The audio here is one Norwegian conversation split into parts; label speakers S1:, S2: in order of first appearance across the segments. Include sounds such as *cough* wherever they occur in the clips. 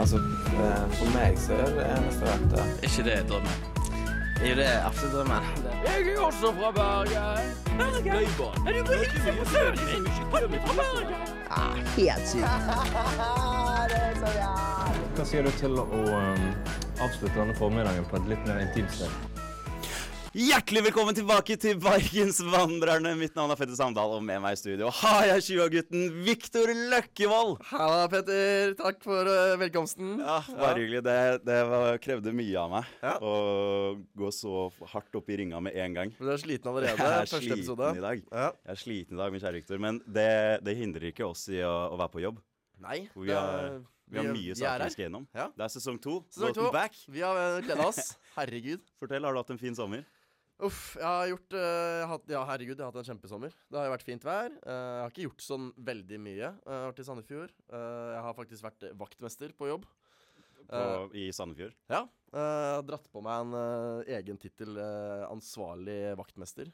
S1: Altså, eh, for meg så er det eneste rette.
S2: Ikke det er drømmen.
S3: Jo, det er absolutt drømmen.
S4: Jeg er også fra Bergen. Bergen? Er du på hilsen på Sørlandet? Hold meg fra Bergen!
S5: Helt sykt.
S6: Hva sier du til å um, avslutte denne formiddagen på et litt mer intimt sted?
S3: Hjertelig velkommen tilbake til Bergensvandrerne. Mitt navn er Petter Samdal, og med meg i studio har jeg 20-gutten Viktor Løkkevold.
S7: Halla, Petter. Takk for eh, velkomsten.
S3: Ja, bare hyggelig. Det, det var, krevde mye av meg
S7: Ja.
S3: å gå så hardt opp i ringa med en gang.
S7: Du er sliten allerede.
S3: Jeg er
S7: første
S3: sliten
S7: episode.
S3: i dag.
S7: Ja.
S3: Jeg er sliten i dag, min kjære Viktor, men det, det hindrer ikke oss i å, å være på jobb.
S7: Nei,
S3: For vi
S7: det
S3: har,
S7: er-
S3: vi har mye
S7: vi er
S3: saker vi
S7: her.
S3: skal gjennom.
S7: Ja.
S3: Det er sesong to.
S7: Sesong
S3: Welcome
S7: to.
S3: back.
S7: Vi har eh, gledet
S3: *laughs*
S7: oss. Herregud.
S3: Fortell, har du hatt en fin sommer?
S7: Uff, jeg har gjort eh, hatt, Ja, herregud, jeg har hatt en kjempesommer. Det har jo vært fint vær. Eh, jeg har ikke gjort sånn veldig mye. Eh, Jeg har vært i Sandefjord. Eh, jeg har faktisk vært eh, vaktmester på jobb.
S3: På,
S7: Eh,
S3: I Sandefjord?
S7: ja. Eh, jeg har dratt på meg en eh, egen tittel, eh, ansvarlig vaktmester.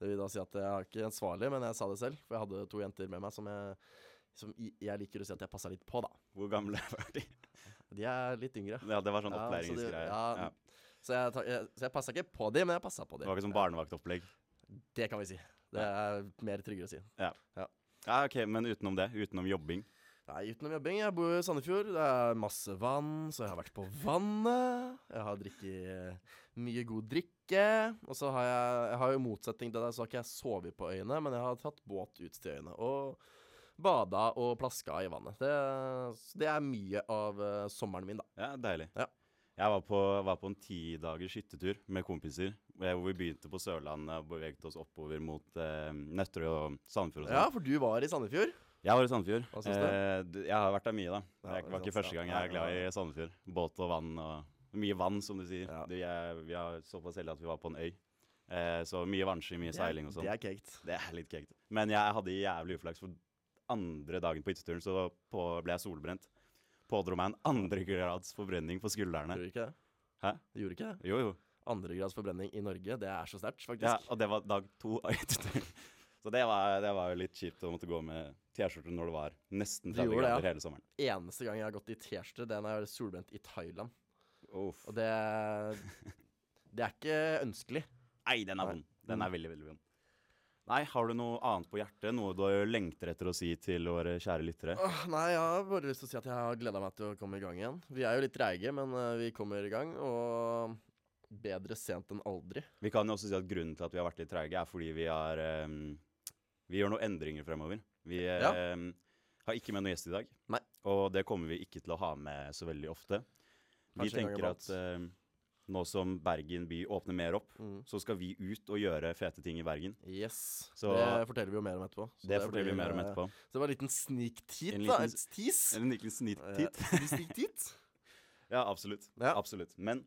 S7: Det vil da si at jeg er ikke ansvarlig, men jeg sa det selv. For jeg hadde to jenter med meg som jeg, som i- jeg liker å si at jeg passa litt på, da.
S3: Hvor gamle var de?
S7: De er litt yngre.
S3: *laughs* Ja, det var sånn
S7: Ja, så de-
S3: opplæringsgreie.
S7: ja.
S3: Ja.
S7: Så jeg, ta- jeg, så jeg passa ikke på de, men jeg passa på de.
S3: Det var ikke sånn barnevaktopplegg.
S7: Det kan vi si. Det er mer tryggere å si.
S3: Ja, ok, Men utenom det, utenom jobbing
S7: Nei, utenom jobbing. Jeg bor jo i Sandefjord. Det er masse vann, så jeg har vært på vannet. Jeg har drikket eh, mye god drikke. Og så har jeg, jeg har jo i motsetning til deg, så har ikke jeg sovet på øyene, men jeg har tatt båt ut til øyene. Og bada og plaska i vannet. Det, så det er mye av eh, sommeren min, da.
S3: Ja, deilig.
S7: Ja.
S3: Jeg var på, var på en ti dagers hyttetur med kompiser. eh, Hvor vi begynte på Sørlandet og beveget oss oppover mot eh, Nøtterøy og Sandefjord. Og
S7: Ja,
S3: sånn.
S7: for du var i Sandefjord.
S3: Jeg var i Sandefjord.
S7: Hva syns du?
S3: Eh, d- jeg har vært der mye, da.
S7: Ja,
S3: det var
S7: ikke
S3: ikke
S7: sant,
S3: første
S7: ja.
S3: gang jeg er glad i
S7: Nei,
S3: Sandefjord. Båt og vann og Mye vann, som du sier.
S7: Ja.
S3: Du, jeg, vi har såpass heldig at vi var på en øy. Eh, så mye vannsky, mye seiling og sånn.
S7: Det er caked.
S3: Det er litt kekt. Men jeg hadde jævlig uflaks, for andre dagen på hytteturen så på, ble jeg solbrent. Pådro meg en andregrads forbrenning på skuldrene.
S7: Gjorde du ikke det?
S3: Hæ?
S7: Gjorde du ikke det?
S3: Jo, jo.
S7: Andregrads forbrenning i Norge, det er så sterkt, faktisk.
S3: Ja, og det var dag to av hytteturen. *laughs* Så det var, det var jo litt kjipt å måtte gå med T-skjorte når det var nesten
S7: Du
S3: 30
S7: gjorde det,
S3: grader
S7: ja.
S3: hele sommeren.
S7: Eneste gang jeg har gått i T-skjorte, det er når jeg var solbrent i Thailand.
S3: Uff.
S7: Og det
S3: *laughs*
S7: Det er ikke ønskelig.
S3: Nei, den er
S7: Nei. Mm.
S3: vond. Den er veldig, veldig vond. Nei, har du noe annet på hjertet? Noe du lengter etter å si til våre kjære lyttere?
S7: Åh, nei, jeg har bare lyst til å si at jeg har gleda meg til å komme i gang igjen. Vi er jo litt treige, men eh, vi kommer i gang. Og bedre sent enn aldri.
S3: Vi kan jo også si at grunnen til at vi har vært litt treige, er fordi vi har ehm, Vi gjør noen endringer fremover. Vi
S7: Ja.
S3: ehm, har ikke med noen gjest i dag.
S7: Nei.
S3: Og det kommer vi ikke til å ha med så veldig ofte. Vi
S7: Kanskje en gang
S3: tenker at
S7: iblant.
S3: ehm, nå som Bergen by åpner mer opp,
S7: Mm.
S3: så skal vi ut og gjøre fete ting i Bergen.
S7: Yes.
S3: Så-
S7: det forteller vi jo mer om etterpå. Så
S3: Det, forteller vi
S7: blir,
S3: mer om
S7: eh,
S3: etterpå.
S7: Så det var en liten sneak teat,
S3: En
S7: da.
S3: liten
S7: Et tease.
S3: Eller en liten snittit.
S7: Eh, en sneak teat.
S3: Ja, absolutt.
S7: Ja.
S3: absolutt. Men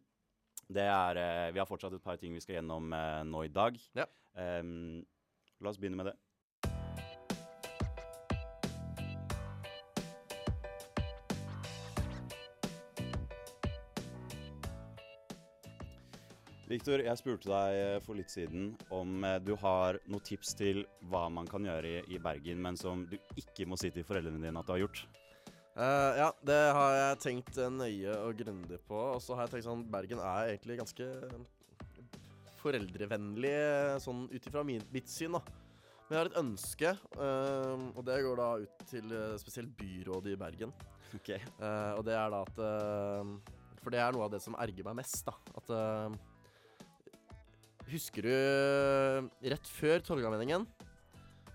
S3: det er, eh, vi har fortsatt et par ting vi skal gjennom eh, nå i dag.
S7: Ja.
S3: Ehm, la oss begynne med det. Victor, jeg spurte deg eh, for litt siden om eh, du har noen tips til hva man kan gjøre i, i Bergen, men som du ikke må si til foreldrene dine at du har gjort. *laughs*
S7: Eh, ja, det har jeg tenkt eh, nøye og grundig på. Og så har jeg tenkt sånn Bergen er egentlig ganske foreldrevennlig eh, sånn ut ifra min- mitt syn, da. Men jeg har et ønske, eh, og det går da ut til eh, spesielt byrådet i Bergen.
S3: Ok.
S7: Eh, og det er da at eh, For det er noe av det som erger meg mest, da. At eh, Husker du rett før Torgallmenningen,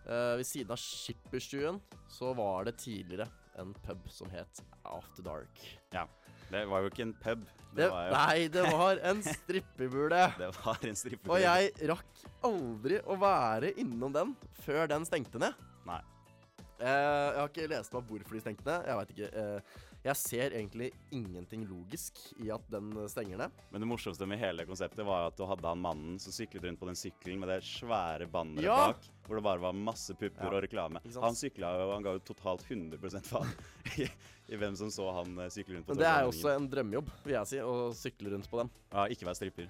S7: eh, ved siden av Skipperstuen, så var det tidligere en pub som het After Dark.
S3: Det var jo ikke en pub. Det,
S7: Det,
S3: var jo
S7: nei, det var en strippebule.
S3: Det var en stripper.
S7: Og jeg rakk aldri å være innom den før den stengte ned.
S3: Nei.
S7: Eh, jeg har ikke lest meg opp hvorfor de stengte ned. Jeg vet ikke. Eh, jeg ser egentlig ingenting logisk i at den eh, stenger ned.
S3: Men det morsomste med hele konseptet var at du hadde han mannen som syklet rundt på den sykkelen med det svære banneret
S7: Ja!
S3: bak, hvor det bare var masse pupper
S7: Ja,
S3: og reklame.
S7: ikke sant?
S3: Han sykla jo, han ga jo totalt 100 faen *laughs* i, i hvem som så han eh, sykle rundt på
S7: Men det er jo
S3: Torgallmenningen.
S7: også en drømmejobb, vil jeg si, å sykle rundt på den.
S3: Ja, ikke være stripper.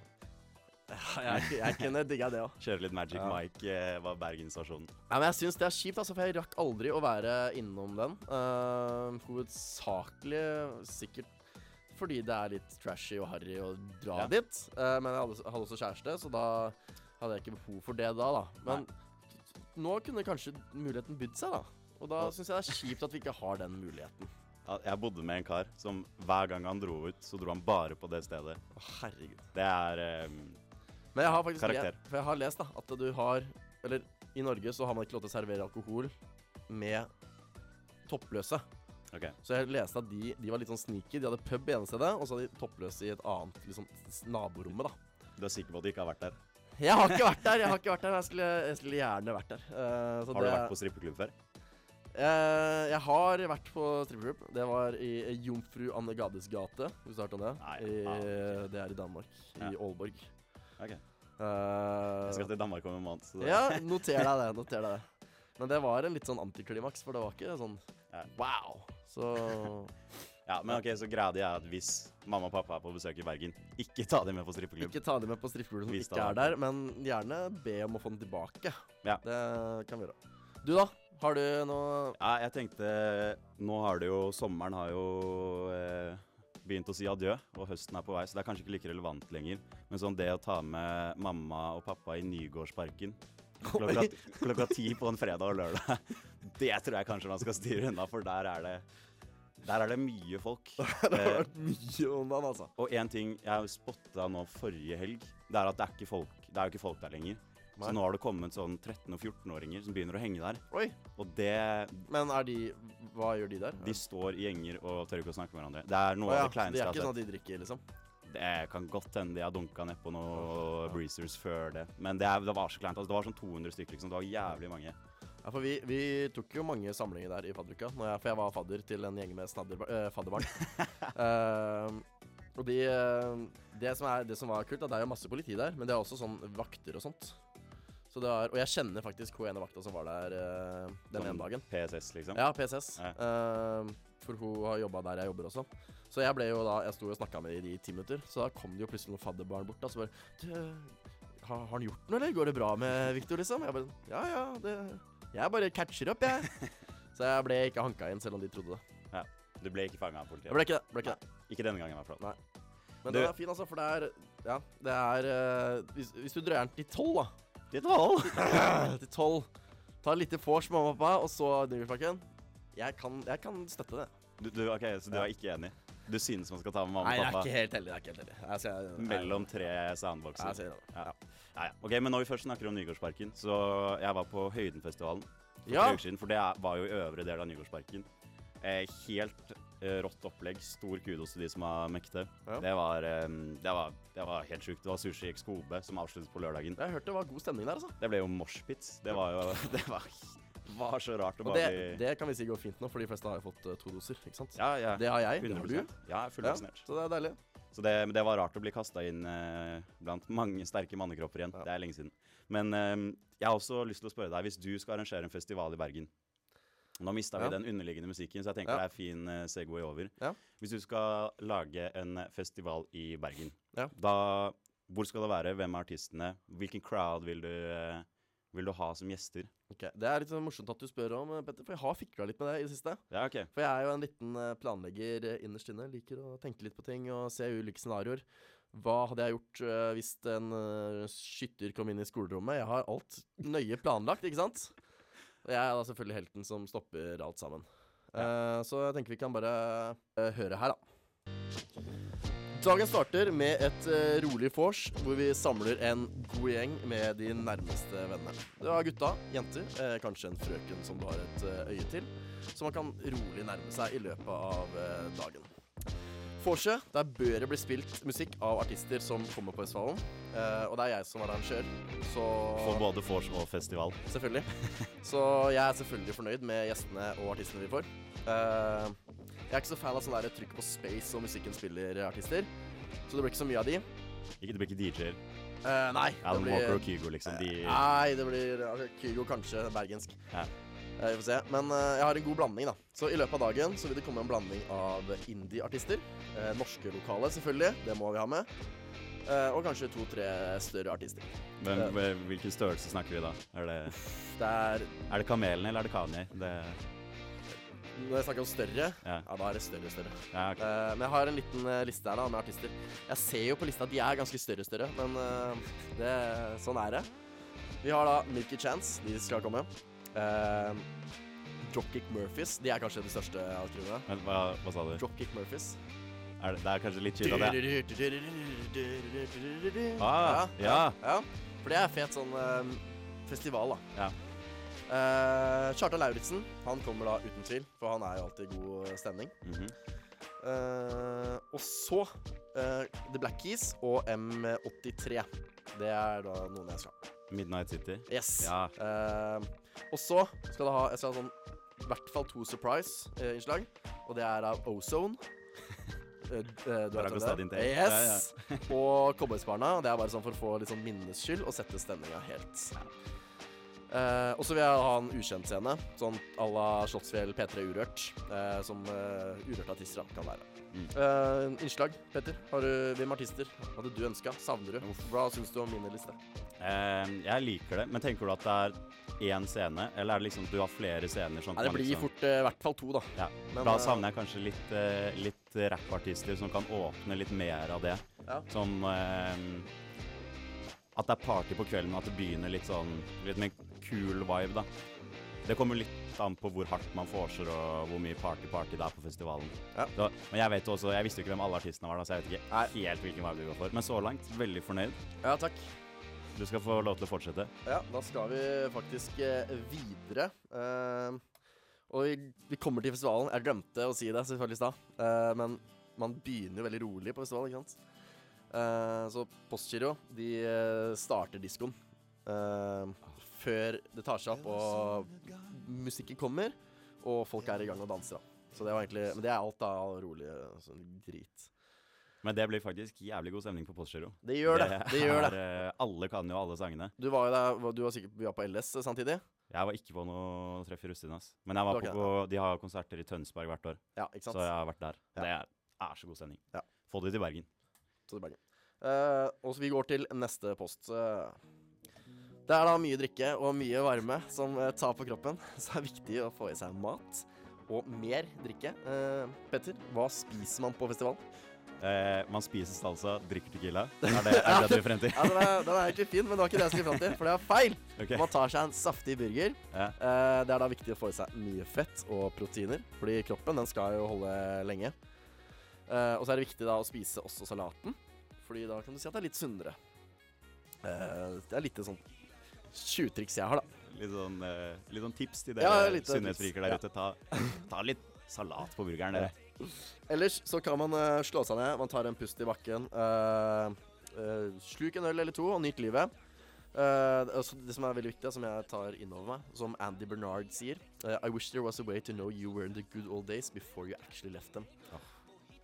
S7: Jeg, *laughs* jeg kunne digga det òg.
S3: Kjøre litt Magic
S6: Ja.
S3: Mike eh, var Bergen stasjon.
S7: Ja, men jeg syns det er kjipt, altså, for jeg rakk aldri å være innom den. Eh, hovedsakelig sikkert fordi det er litt trashy og harry å dra
S3: Ja.
S7: dit. Eh, men jeg hadde, hadde også kjæreste, så da hadde jeg ikke behov for det da. da. Men nå kunne kanskje muligheten bydd seg, da. Og da
S3: Ja.
S7: syns jeg det er kjipt at vi ikke har den muligheten.
S3: Ja, Jeg bodde med en kar som hver gang han dro ut, så dro han bare på det stedet.
S7: Å, herregud.
S3: Det er eh,
S7: Men jeg har faktisk
S3: Karakter.
S7: Jeg, for jeg har lest da, at du har Eller i Norge så har man ikke lov til å servere alkohol med toppløse.
S3: OK.
S7: Så jeg leste at de, de var litt sånn sneaky. De hadde pub i ene stedet, og så hadde de toppløse i et annet liksom, s- naborommet, da.
S3: Du er sikker på at du ikke har vært der?
S7: Jeg har ikke vært der, jeg har ikke vært der. men Jeg skulle, jeg skulle gjerne vært der. Eh, så
S3: Har du
S7: det-
S3: vært på strippeklubb før?
S7: Eh, jeg har vært på strippeklubb. Det var i Jomfru Anne Gades gate, hvis du har hørt om det.
S3: Nei,
S7: I,
S3: aner
S7: det er i Danmark.
S3: Ja.
S7: I Aalborg.
S3: Ok.
S7: Eh,
S3: Jeg skal til Danmark om en måned. Så det,
S7: Ja, noter deg det. noter deg det. Men det var en litt sånn antiklimaks, for det var ikke sånn
S3: Ja.
S7: wow. Så
S3: ja, men ok, Så greia di er at hvis mamma og pappa er på besøk i Bergen, ikke ta dem med på strippeklubb.
S7: ikke ta dem med på strippeklubb som
S3: Vis deg
S7: ikke er
S3: da.
S7: der, men gjerne be om å få den tilbake.
S3: Ja.
S7: Det kan vi gjøre. Du, da? Har du noe
S3: Ja, jeg tenkte Nå har det jo Sommeren har jo eh, begynt å si adjø, og høsten er på vei, så det er kanskje ikke like relevant lenger. Men sånn det å ta med mamma og pappa i Nygårdsparken klokka, klokka ti på en fredag og lørdag, *laughs* det tror jeg kanskje man skal styre unna, for der er det der er det mye folk.
S7: *laughs* Det har
S3: Eh,
S7: vært mye om den, altså.
S3: og én ting jeg spotta nå forrige helg, det er at det er ikke folk, det er jo ikke folk der lenger.
S7: Nei.
S3: Så nå har det kommet sånn 13- og 14-åringer som begynner å henge der.
S7: Oi.
S3: Og det,
S7: Men er de Hva gjør de der?
S3: de står i gjenger og tør ikke å snakke med hverandre. Det er noe
S7: Å ja,
S3: av det kleineste
S7: det
S3: jeg
S7: er
S3: har
S7: ikke
S3: sett.
S7: sånn at de drikker, liksom?
S3: Det kan godt hende de har dunka nedpå
S7: Åh,
S3: noen
S7: ja.
S3: breezers før det. Men det, er, det var så kleint. Altså, det var sånn 200 stykker, liksom. Det var jævlig mange.
S7: Ja, for vi, vi tok jo mange samlinger der i fadderuka. Når jeg, for jeg var fadder til en gjeng med snadder, eh, fadderbarn. Ehm, og de, eh, det, som er, det som var kult, da, det er jo masse politi der, men det er også sånn vakter og sånt. Så det er, og jeg kjenner faktisk hun ene vakta som var der eh, den
S3: Sånn
S7: ene dagen.
S3: PSS, liksom.
S7: Ja, PCS.
S3: Ja.
S7: Ehm, for hun har jobba der jeg jobber også. Så jeg ble jo da Jeg sto og snakka med dem i ti minutter, så da kom det jo plutselig noen fadderbarn bort. Da, så bare «Du, har, 'Har han gjort noe, eller? Går det bra med Victor?' liksom. Jeg bare Ja, ja, det Jeg bare catcher opp, *laughs* jeg. Så jeg ble ikke hanka inn, selv om de trodde det.
S3: Du ble ikke fanga av politiet.
S7: Jeg ble ikke det. Ble ikke det.
S3: Ikke denne gangen, i hvert fall.
S7: Nei. Men
S3: Du-
S7: den er fin, altså, for det er Ja, det er eh, hvis, hvis du drøyer den til tolv, da.
S3: Ditt valg.
S7: *clears throat* til tolv. Ta et lite vors med mamma og pappa, og så Dyreparken. Jeg kan, jeg kan støtte det.
S3: Du, du, ok, så du er ikke enig? Du synes man skal ta med mamma
S7: Nei, jeg
S3: og
S7: er
S3: pappa
S7: ikke helt heldig. Jeg er ikke helt heldig. Jeg ser,
S3: mellom tre
S7: jeg,
S3: sandboxer?
S7: ser det.
S3: Ja. Ja, ja. Ok, Men når vi først snakker om Nygårdsparken, så jeg var på Høydenfestivalen for
S7: Ja.
S3: tre uker siden. For det er- var jo i øvre del av Nygårdsparken. Eh, helt eh, rått opplegg. Stor kudos til de som har mekte.
S7: Ja.
S3: Det, var, eh, det, var, det var helt sjukt. Det var Sushi X Kobe som avsluttet på lørdagen.
S7: Jeg hørte det var god stemning der, altså.
S3: Det ble jo moshpits. Det var jo *laughs* Det var, var så rart å
S7: Og
S3: bare
S7: det,
S3: bli
S7: det kan vi si går fint nå, for de fleste har jo fått eh, to doser, ikke sant?
S3: Ja, ja.
S7: Det har jeg. Det har du.
S3: 100 Ja, jeg er
S7: Ja,
S3: fullvaksinert.
S7: så det er deilig.
S3: Så det, men det var rart å bli kasta inn eh, blant *laughs* mange sterke mannekropper igjen.
S7: Ja.
S3: Det er lenge siden. Men eh, jeg har også lyst til å spørre deg, hvis du skal arrangere en festival i Bergen Nå mista vi
S7: Ja.
S3: den underliggende musikken, så jeg tenker
S7: Ja.
S3: det er fin eh, Segway over.
S7: Ja.
S3: Hvis du skal lage en eh, festival i Bergen,
S7: Ja.
S3: da Hvor skal det være? Hvem er artistene? Hvilken crowd vil du, eh, vil du ha som gjester?
S7: Ok, Det er litt sånn morsomt at du spør om, eh, Petter, for jeg har fikla litt med det i det siste.
S3: Ja, OK.
S7: For jeg er jo en liten eh, planlegger eh, innerst inne. Liker å tenke litt på ting og se ulike scenarioer. Hva hadde jeg gjort eh, hvis en eh, skytter kom inn i skolerommet? Jeg har alt nøye planlagt, ikke sant? Og jeg er da selvfølgelig helten som stopper alt sammen. Eh, så jeg tenker vi kan bare eh, høre her, da. Dagen starter med et eh, rolig vors hvor vi samler en god gjeng med de nærmeste vennene. Det var gutta, jenter, eh, kanskje en frøken som du har et eh, øye til som man kan rolig nærme seg i løpet av eh, dagen. Vorset, der bør det bli spilt musikk av artister som kommer på Østfallen. Eh, og det er jeg som arrangør, så
S3: For både vors og festival. *laughs*
S7: Selvfølgelig. Så jeg er selvfølgelig fornøyd med gjestene og artistene vi får. Eh, jeg er ikke så fan av sånn der trykk på space og musikken spiller artister, så det blir ikke så mye av de.
S3: Ikke, det blir ikke DJ-er.
S7: Eh, nei, det
S3: Alan
S7: blir
S3: Walker og Kygo, liksom. De
S7: Nei, det blir altså, Kygo kanskje bergensk.
S3: Ja.
S7: Eh, Vi får se. Men eh, jeg har en god blanding, da. Så i løpet av dagen så vil det komme en blanding av indie-artister. Eh, norske lokale, selvfølgelig. Det må vi ha med. Eh, og kanskje to-tre større artister.
S3: Hvem, hvem- hvilken størrelse snakker vi da? Er det,
S7: Det er
S3: er det kamelene eller er det Kanye? Det,
S7: Når jeg snakker om større,
S3: ja.
S7: ja, da er det større større.
S3: Ja, ok.
S7: Eh, men jeg har en liten eh, liste her da med artister. Jeg ser jo på lista at de er ganske større større, men eh, det, sånn er det. Vi har da Milky Chance, de skal komme. Uh, Dropkick Murphys, de er kanskje de største jeg har skrevet. ned.
S3: Men hva, hva sa du?
S7: Dropkick Murphys.
S3: Er det, det er kanskje litt chill at jeg
S7: Ah,
S3: Ah, ja.
S7: ja. For det er fet sånn eh, festival, da.
S3: Ja.
S7: Eh, Kjartan Lauritzen han kommer da uten tvil, for han er jo alltid i god stemning.
S3: Mhm.
S7: Eh, og så eh, The Black Keys og M83. Det er da noen jeg skal ha.
S3: Midnight City?
S7: Yes.
S3: Ja.
S7: Eh, og så skal det ha jeg skal ha sånn, i hvert fall to surprise-innslag. og det er av Ozone. *laughs* Eh, d- eh, du vet hvem det
S3: Drago
S7: er?
S3: Stadin Tale.
S7: Yes. *laughs* og Cowboysbarna. og Det er bare sånn for å få litt sånn minnenes skyld og sette stemninga helt. Eh, og så vil jeg ha en ukjent scene, sånn à la Slottsfjell P3 Urørt. eh, som uh, urørte artister da, kan være. Eh, innslag, Petter. Har du, hvem artister hadde du ønska? Savner du? Hva syns du om min liste?
S3: Eh, jeg liker det, men tenker du at det er én scene, eller er det liksom du har flere scener som
S7: Nei, det
S3: kan
S7: blir
S3: liksom
S7: fort eh, i hvert fall to, da.
S3: ja.
S7: men,
S3: Da
S7: eh,
S3: savner jeg kanskje litt, eh, litt rappartister som kan åpne litt mer av det.
S7: Ja.
S3: Som eh, At det er party på kvelden, og at det begynner litt sånn Litt med cool vibe, da. Det kommer litt an på hvor hardt man forser og hvor mye party-party det er på festivalen.
S7: Ja.
S3: Så, men jeg vet også, jeg visste jo ikke hvem alle artistene var, da, så jeg vet ikke
S7: Nei.
S3: helt hvilken vibe du går for. Men så langt, veldig fornøyd.
S7: Ja, takk.
S3: Du skal få lov til å fortsette.
S7: Ja, da skal vi faktisk eh, videre. Eh, og vi, vi kommer til festivalen. Jeg glemte å si det selvfølgelig i stad, eh, men man begynner jo veldig rolig på festival, ikke sant? Eh, så Postgiro de eh, starter diskoen eh, før det tar seg opp og musikken kommer, og folk er i gang og danser. da. Så det var egentlig, Men det er alt da rolig sånn drit.
S3: Men det blir faktisk jævlig god stemning på Postgiro.
S7: Det gjør det. Det gjør det.
S3: er, eh, alle kan jo alle sangene.
S7: Du var jo der, du var sikkert vi var på LS samtidig?
S3: Jeg var ikke på noe treff i Rustin, ass. Men jeg var
S7: Du var
S3: på, de har konserter i Tønsberg hvert år,
S7: Ja, ikke sant?
S3: så jeg har vært der.
S7: Ja.
S3: Det er, er så god stemning.
S7: Ja.
S3: Få det til Bergen.
S7: Så det er Bergen. Eh, og så vi går til neste post. Eh, det er da mye drikke og mye varme som eh, tar på kroppen, *laughs* så det er viktig å få i seg mat og mer drikke. Eh, Petter, hva spiser man på festival?
S3: Eh, man spiser salsa, drikker
S7: *laughs*
S3: tequila. Er det er det du er frem til?
S7: Ja, den, er, den er egentlig fin, men det var ikke det jeg skulle fram til, for det er feil.
S3: *laughs* Ok.
S7: Man tar seg en saftig burger.
S3: Ja.
S7: Eh, det er da viktig å få i seg mye fett og proteiner, fordi kroppen den skal jo holde lenge. Eh, og så er det viktig da å spise også salaten, fordi da kan du si at det er litt sunnere. Eh, det er litt sånn tjuvtriks jeg har, da.
S3: Litt sånn, eh, litt sånn tips til dere
S7: Ja, litt eh, av
S3: sunnhetsfriker der ute. Ta, *laughs* ta litt salat på burgeren, dere.
S7: Ellers så kan man eh, slå seg ned, man tar en pust i bakken. eh, eh, sluk en øl eller to og nyt livet. Eh, det- altså, det som er veldig viktig, og som jeg tar innover meg, som Andy Bernard sier eh, I wish there was a way to know you were in the good old days before you actually left them.
S3: Ah.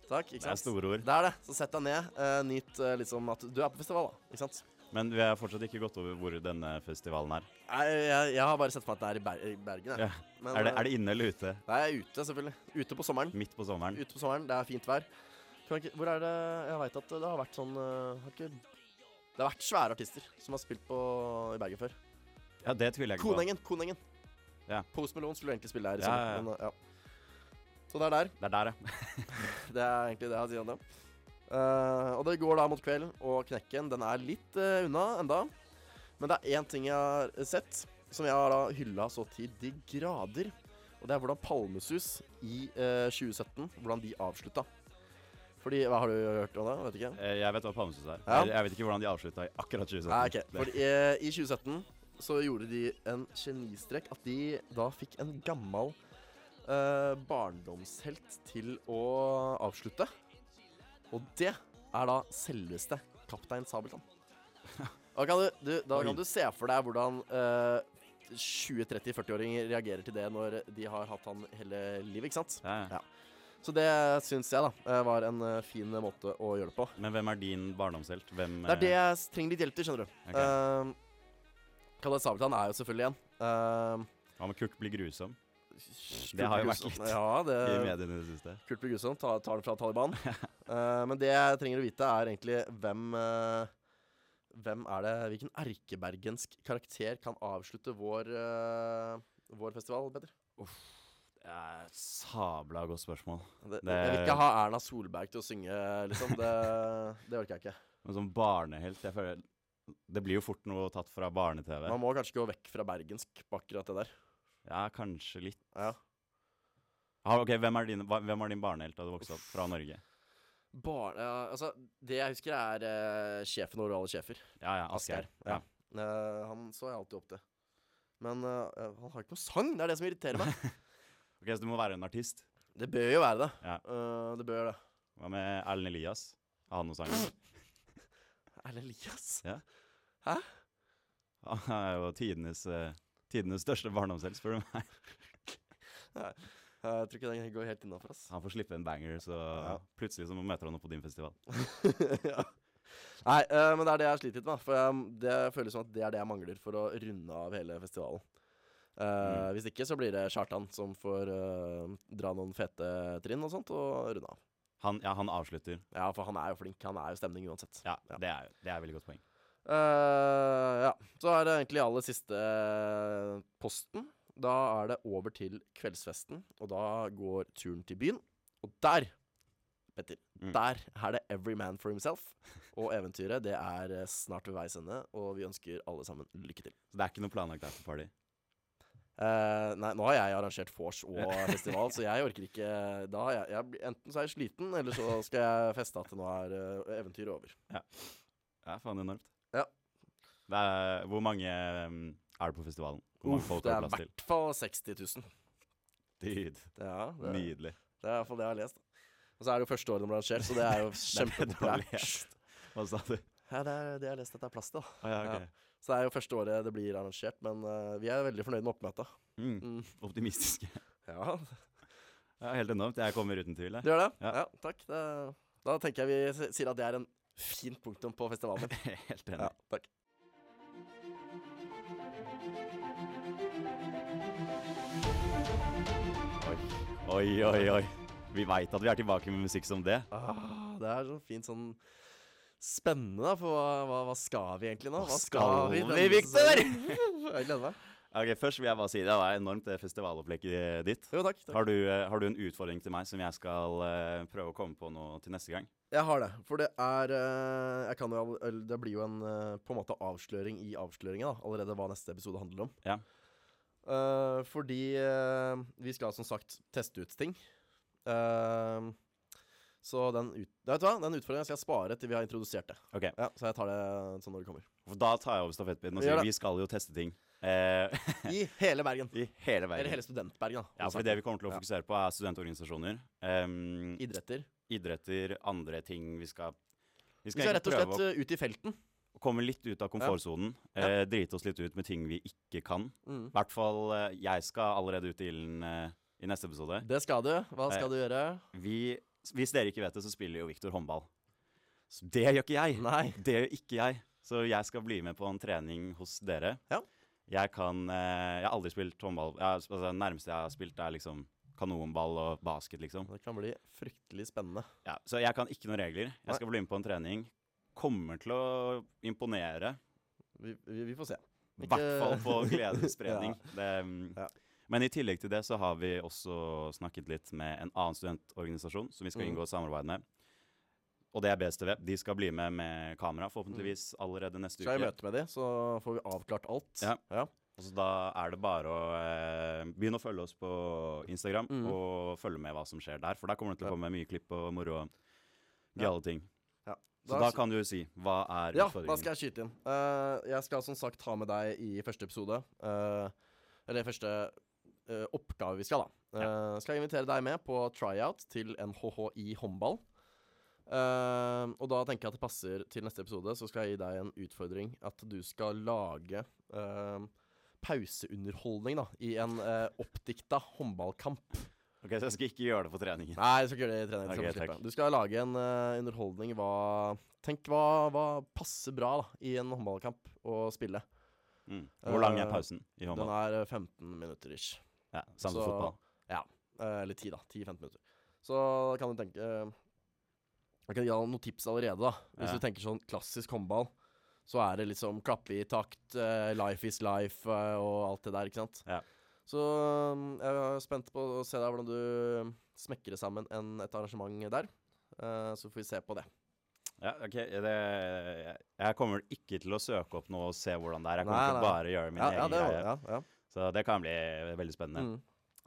S7: Takk, ikke
S3: Det er
S7: sant?
S3: store ord.
S7: Det er det. Så sett deg ned. eh, nyt eh, liksom at du er på festival, da. Ikke sant?
S3: Men vi har fortsatt ikke gått over hvor denne festivalen er.
S7: Jeg, jeg, jeg har bare sett for meg at det er i, Ber i Bergen. Jeg.
S3: Ja.
S7: Men,
S3: Er det,
S7: eh,
S3: er det inne eller ute?
S7: Nei, jeg er ute, selvfølgelig. Ute på sommeren.
S3: Midt på sommeren?
S7: Ute på sommeren, Det er fint vær. Kan ikke, hvor er det Jeg veit at det har vært sånn eh, har ikke, Det har vært svære artister som har spilt på, i Bergen før.
S3: Ja, det tviler jeg ikke på.
S7: Konengen! Konengen.
S3: Ja.
S7: Post Melon skulle egentlig spille her i
S3: Ja,
S7: sommer.
S3: ja, ja.
S7: Men, eh, ja. Så det er der.
S3: Det er der, ja.
S7: Det er egentlig det jeg har å si om det. Eh, og det går da mot kvelden, og knekken den er litt eh, unna enda. Men det er én ting jeg har sett, som jeg har da hylla så til de grader. Og det er hvordan Palmesus i eh, 2017 Hvordan de avslutta. Fordi Hva har du hørt om det? Vet ikke.
S3: Eh, Jeg vet hva Palmesus er.
S7: Ja.
S3: Jeg- Jeg vet ikke hvordan de avslutta i akkurat 2017.
S7: Nei, ok.
S3: Det-
S7: Fordi, eh, I 2017 så gjorde de en genistrek at de da fikk en gammel eh, barndomshelt til å avslutte. Og det er da selveste Kaptein Sabeltann.
S3: *laughs*
S7: Da kan du, du, da
S3: Oi.
S7: kan du se for deg hvordan eh, 20-30-40-åringer reagerer til det når de har hatt han hele livet, ikke sant?
S3: Ja. ja.
S7: Så det syns jeg da eh, var en eh, fin måte å gjøre det på.
S3: Men hvem er din barndomshelt? Hvem
S7: Det er det
S3: eh,
S7: jeg s- trenger litt hjelp til, skjønner du.
S3: Ok.
S7: Okay. Kalle Sabeltann er jo selvfølgelig en. Ehm,
S3: Hva med Kurt blir grusom? Det har jo vært
S7: Kurt
S3: litt
S7: Gustavsson- Ja, det,
S3: i mediene i det siste.
S7: Kurt Bugusson tar, tar den fra *laughs* Taliban. Eh, men det jeg trenger å vite, er egentlig hvem eh, Hvem er det Hvilken erkebergensk karakter kan avslutte vår, eh, vår festival bedre?
S3: Det er et sabla godt spørsmål.
S7: Det,
S3: Det-
S7: Jeg vil ikke ha Erna Solberg til å synge, liksom. Det, *laughs* det orker jeg ikke.
S3: Men som barnehelt jeg føler, Det blir jo fort noe tatt fra barne-TV.
S7: Man må kanskje gå vekk fra bergensk på akkurat det der.
S3: Ja, kanskje litt.
S7: Ja.
S3: Ah, ok, Hvem er din, hva- hvem er din barnehelt da du vokste opp fra Norge?
S7: Barne... ja, Altså, det jeg husker, er eh, sjefen over alle sjefer.
S3: Ja, ja, Asgeir.
S7: Ja.
S3: Ja.
S7: Eh, han så jeg alltid opp til. Men eh, han har ikke noe sang! Det er det som irriterer
S3: *laughs*
S7: meg.
S3: Ok, Så du må være en artist.
S7: det bør jo være det.
S3: Ja.
S7: Eh, det bør gjøre det.
S3: Hva med Erlend Elias? Har han noen sanger? *sniffs*
S7: Erlend Elias?
S3: Han er jo tidenes, eh, tidenes største barndomshelt, spør du meg.
S7: Eh, Jeg tror ikke den går helt innafor, ass.
S3: Han får slippe en banger, så plutselig så møter han opp på din festival.
S7: *laughs* ja. Nei, eh, men det er det jeg har slitt litt med. For jeg, det føles som at det er det jeg mangler for å runde av hele festivalen. Eh,
S3: Mm.
S7: Hvis ikke så blir det Kjartan som får eh, dra noen fete trinn og sånt, og runde av.
S3: Han, ja, han avslutter.
S7: Ja, for han er jo flink. Han er jo stemning uansett.
S3: Ja,
S7: Ja.
S3: Det, er, det er et veldig godt poeng.
S7: Eh, ja. Så er det egentlig aller siste eh, posten. Da er det over til kveldsfesten, og da går turen til byen. Og der, Petter,
S3: Mm.
S7: der er det every man for himself. Og eventyret, det er eh, snart ved veis ende, og vi ønsker alle sammen lykke til.
S3: Så det er ikke noe planlagt afterparty.
S7: Eh, nei, nå har jeg arrangert vors og festival, så jeg orker ikke da har jeg, jeg, blir- Enten så er jeg sliten, eller så skal jeg feste at nå er eh, eventyret over.
S3: Det er faen enormt.
S7: Ja.
S3: Det er, hvor mange um, er det på festivalen? Hvor mange
S7: Uff,
S3: folk
S7: det er
S3: har du
S7: i
S3: plass til?
S7: hvert fall 60 000.
S3: Dude,
S7: Ja, det,
S3: nydelig.
S7: Det er i hvert fall det jeg har lest. da. Og så er det jo første året de ble arrangert, så det er jo
S3: *laughs* Det er det du har
S7: kjempepopulært.
S3: lest. Hva sa du?
S7: Ja, det er det jeg har lest at det er plass til. da.
S3: Å ja, ok.
S7: Så det er jo første året det blir arrangert, men eh, vi er veldig fornøyd med oppmøtet.
S3: Mm,
S7: Mm.
S3: optimistiske.
S7: Ja,
S3: Ja, helt enormt. Jeg kommer uten
S7: *laughs*
S3: tvil. jeg.
S7: det gjør det. Ja,
S3: Ja.
S7: takk. Det, da tenker jeg vi s- sier at det er en fint punktum på festivalen.
S3: Helt *laughs* enig.
S7: Ja, takk.
S3: Oi, oi, oi. Vi veit at vi er tilbake med musikk som det.
S7: Ah, det er sånn fint sånn spennende, da. For hva, hva, hva skal vi egentlig nå?
S3: Hva skal vi,
S7: Victor? *laughs* jeg gleder meg.
S3: Ok, Først vil jeg bare si det var enormt, det festivalopplegget ditt.
S7: Jo, takk. takk.
S3: Har du, eh, har du en utfordring til meg som jeg skal eh, prøve å komme på nå til neste gang?
S7: Jeg har det, for det er eh, Jeg kan jo all- eller Det blir jo en eh, på en måte avsløring i avsløringa, da. Allerede hva neste episode handler om.
S3: Ja.
S7: Eh, fordi eh, vi skal som sagt teste ut ting. Eh, så den, ut, Nei, vet du hva? den utfordringa skal jeg spare til vi har introdusert det.
S3: Ok,
S7: Ja, Så jeg tar det sånn når det kommer.
S3: for Da tar jeg over stafettpinnen og
S7: Gjør
S3: sier
S7: det.
S3: vi skal jo teste ting. Eh,
S7: I hele Bergen.
S3: *laughs* I hele
S7: Eller
S3: verden.
S7: hele Studentbergen, da.
S3: Ja, for det vi kommer til å
S7: Ja.
S3: fokusere på, er studentorganisasjoner. em,
S7: Idretter.
S3: idretter, andre ting vi skal Vi
S7: Vi skal
S3: egentlig
S7: rett og slett
S3: prøve
S7: eh, ut i felten.
S3: å komme litt ut av komfortsonen. Eh, drite oss litt ut med ting vi ikke kan.
S7: Mm.
S3: I hvert fall eh, jeg skal allerede ut i ilden eh, i neste episode.
S7: Det skal du. Hva
S3: Eh,
S7: skal du gjøre?
S3: Vi, hvis dere ikke vet det, så spiller jo Viktor håndball. Så det gjør ikke jeg.
S7: Nei.
S3: Det gjør ikke jeg. Så jeg skal bli med på en trening hos dere.
S7: Ja.
S3: Jeg kan eh, Jeg har aldri spilt håndball. Jeg, har- altså, det nærmeste jeg har spilt, er liksom kanonball og basket, liksom.
S7: Det kan bli fryktelig spennende.
S3: Ja, så jeg kan ikke noen regler. Jeg skal bli med på en trening. Kommer til å imponere.
S7: Vi, vi, vi får se.
S3: I
S7: Ikke-
S3: hvert fall på
S7: *laughs*
S3: gledesspredning. Det, mm.
S7: Ja.
S3: Men i tillegg til det så har vi også snakket litt med en annen studentorganisasjon som vi skal
S7: Mm.
S3: inngå samarbeid med. Og det er BSTV. De skal bli med med kamera forhåpentligvis allerede neste
S7: Skal jeg i
S3: uke.
S7: møte med de, så får vi avklart alt.
S3: Ja. Og så da er det bare å eh, begynne å følge oss på Instagram
S7: Mm.
S3: og følge med hva som skjer der. For der kommer det til
S7: Ja.
S3: å komme mye klipp og moro og
S7: Ja.
S3: gale ting.
S7: Ja.
S3: Så da kan du si hva er
S7: ja,
S3: utfordringen?
S7: da skal jeg skyte inn. Eh, jeg skal som sagt ha med deg i første episode, eh, eller første eh, oppgave vi skal, da. Eh, skal jeg invitere deg med på tryout til NHHI håndball. Eh, og da tenker jeg at det passer til neste episode, så skal jeg gi deg en utfordring. At du skal lage eh, pauseunderholdning da, i en uh, oppdikta håndballkamp.
S3: Ok, Så jeg skal ikke gjøre det på treningen.
S7: Nei, du skal ikke gjøre det i trening. du skal
S3: Ok,
S7: få slippe.
S3: takk.
S7: Du skal lage en eh, underholdning. Hva, tenk hva, hva passer bra da, i en håndballkamp å spille.
S3: Mm. Hvor lang er
S7: Eh,
S3: pausen i
S7: Den
S3: håndball?
S7: er eh, 15 minutter ish.
S3: Ja, Samme
S7: Så-
S3: som fotball.
S7: Eh, Eller 10, da. 10-15 minutter. Så da kan du tenke eh, Jeg kan gi deg noen tips allerede, da. Hvis
S3: Ja.
S7: du tenker sånn klassisk håndball, så er det liksom klappe i takt, eh, life is life eh, og alt det der, ikke sant?
S3: Ja.
S7: Så mm, jeg er spent på å se deg hvordan du smekker det sammen en, et arrangement der. Eh, så får vi se på det.
S3: Ja, ok. Det, jeg kommer ikke til å søke opp noe og se hvordan det er. Jeg kommer
S7: Nei,
S3: til å
S7: nei.
S3: bare gjøre min
S7: Ja, ja,
S3: egen
S7: det var,
S3: greie.
S7: ja, ja.
S3: Så det kan bli veldig spennende.
S7: Mm.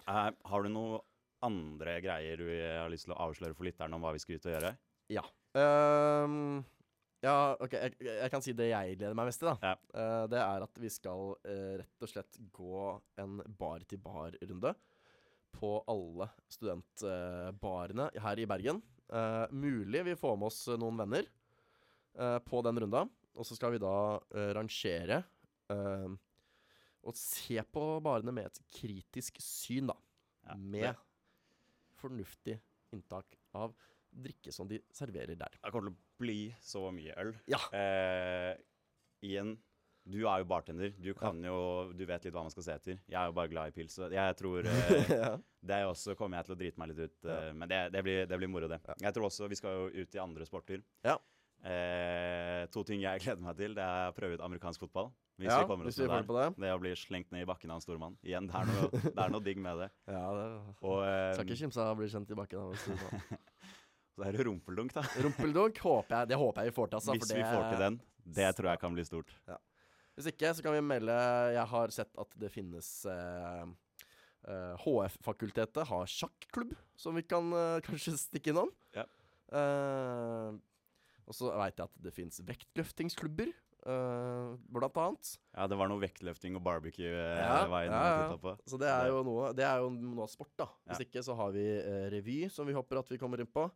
S3: Eh, har du noe andre greier du har lyst til å avsløre for lytterne om hva vi skal ut og gjøre?
S7: Ehm, ja, OK. Jeg, jeg kan si det jeg gleder meg mest til, da.
S3: Ja.
S7: Eh, det er at vi skal eh, rett og slett gå en bar-til-bar-runde på alle studentbarene her i Bergen. Eh, mulig vi får med oss eh, noen venner eh, på den runda. Og så skal vi da eh, rangere eh, og se på barene med et kritisk syn, da.
S3: Ja,
S7: med fornuftig inntak av drikke som de serverer der.
S3: Det kommer til å bli så mye øl.
S7: Ja.
S3: Eh, igjen, du er jo bartender. Du kan jo, du vet litt hva man skal se etter. Jeg er jo bare glad i pils. så Jeg
S7: *laughs*
S3: tror eh, det er også kommer jeg til å drite meg litt ut. eh, Men det, det, blir, det blir moro, det. Jeg tror også vi skal jo ut i andre sporter.
S7: Ja.
S3: Eh, to ting jeg *laughs* gleder meg til. Det er å prøve ut amerikansk fotball. Hvis
S7: Ja,
S3: vi kommer oss
S7: hvis vi
S3: med
S7: får
S3: der.
S7: på det.
S3: Det å bli slengt ned i bakken av en stormann. Igjen, det er noe, det er noe digg med det.
S7: Ja, det
S3: Og
S7: skal
S3: eh,
S7: ikke kimse av å bli kjent i bakken. av en stor mann.
S3: så er det rumpeldunk, da.
S7: Rumpeldunk håper jeg, det håper jeg vi får til. Altså, for
S3: Hvis
S7: det,
S3: vi får til den. Det tror jeg kan bli stort.
S7: Hvis ikke, så kan vi melde Jeg har sett at det finnes eh, eh, HF-fakultetet har sjakklubb, som vi kan eh, *laughs* kanskje stikke innom.
S3: Ja.
S7: Eh, og så veit jeg at det fins vektløftingsklubber, eh, blant annet.
S3: Ja, det var noe vektløfting og eh, barbecue-veien
S7: Ja, ja, ja.
S3: på.
S7: Så det er
S3: Det-
S7: jo noe, det er jo noe av sport, da. Hvis
S3: Ja.
S7: ikke så har vi eh, revy, som vi håper at vi kommer inn på.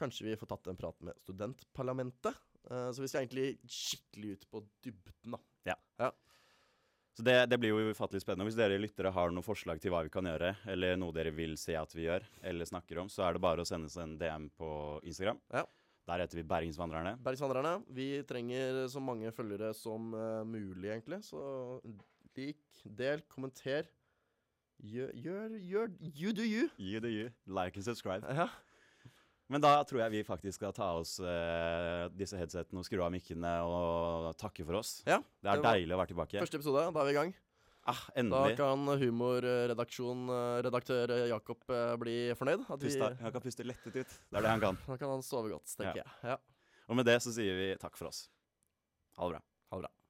S7: Kanskje vi får tatt en prat med studentparlamentet. Eh, så vi skal egentlig skikkelig ut på dybden, da.
S3: Så det, det blir jo ufattelig spennende. Hvis dere lyttere har noen forslag til hva vi kan gjøre, eller noe dere vil se at vi gjør, eller snakker om, så er det bare å sende oss en DM på Instagram.
S7: Ja.
S3: Der heter vi Bergensvandrerne.
S7: Bergsvandrerne, vi trenger så mange følgere som eh, mulig, egentlig. Så lik, del, kommenter. Gjør, gjør, gjør You do you.
S3: You do you. Like and subscribe.
S7: Ja.
S3: Men da tror jeg vi faktisk skal ta oss eh, disse headsetene og skru av mikkene og takke for oss.
S7: Ja,
S3: det
S7: det
S3: er
S7: var-
S3: deilig å være tilbake.
S7: Første episode, da er vi i gang.
S3: Ah,
S7: Da
S3: endelig.
S7: kan humorredaksjon-redaktør Jakob eh, bli fornøyd. At vi,
S3: Pusta, han kan puste lettet ut. Det er det han kan.
S7: Da kan han sove godt, tenker jeg. Ja.
S3: Og med det så sier vi takk for oss. Ha det bra.
S7: Ha det bra.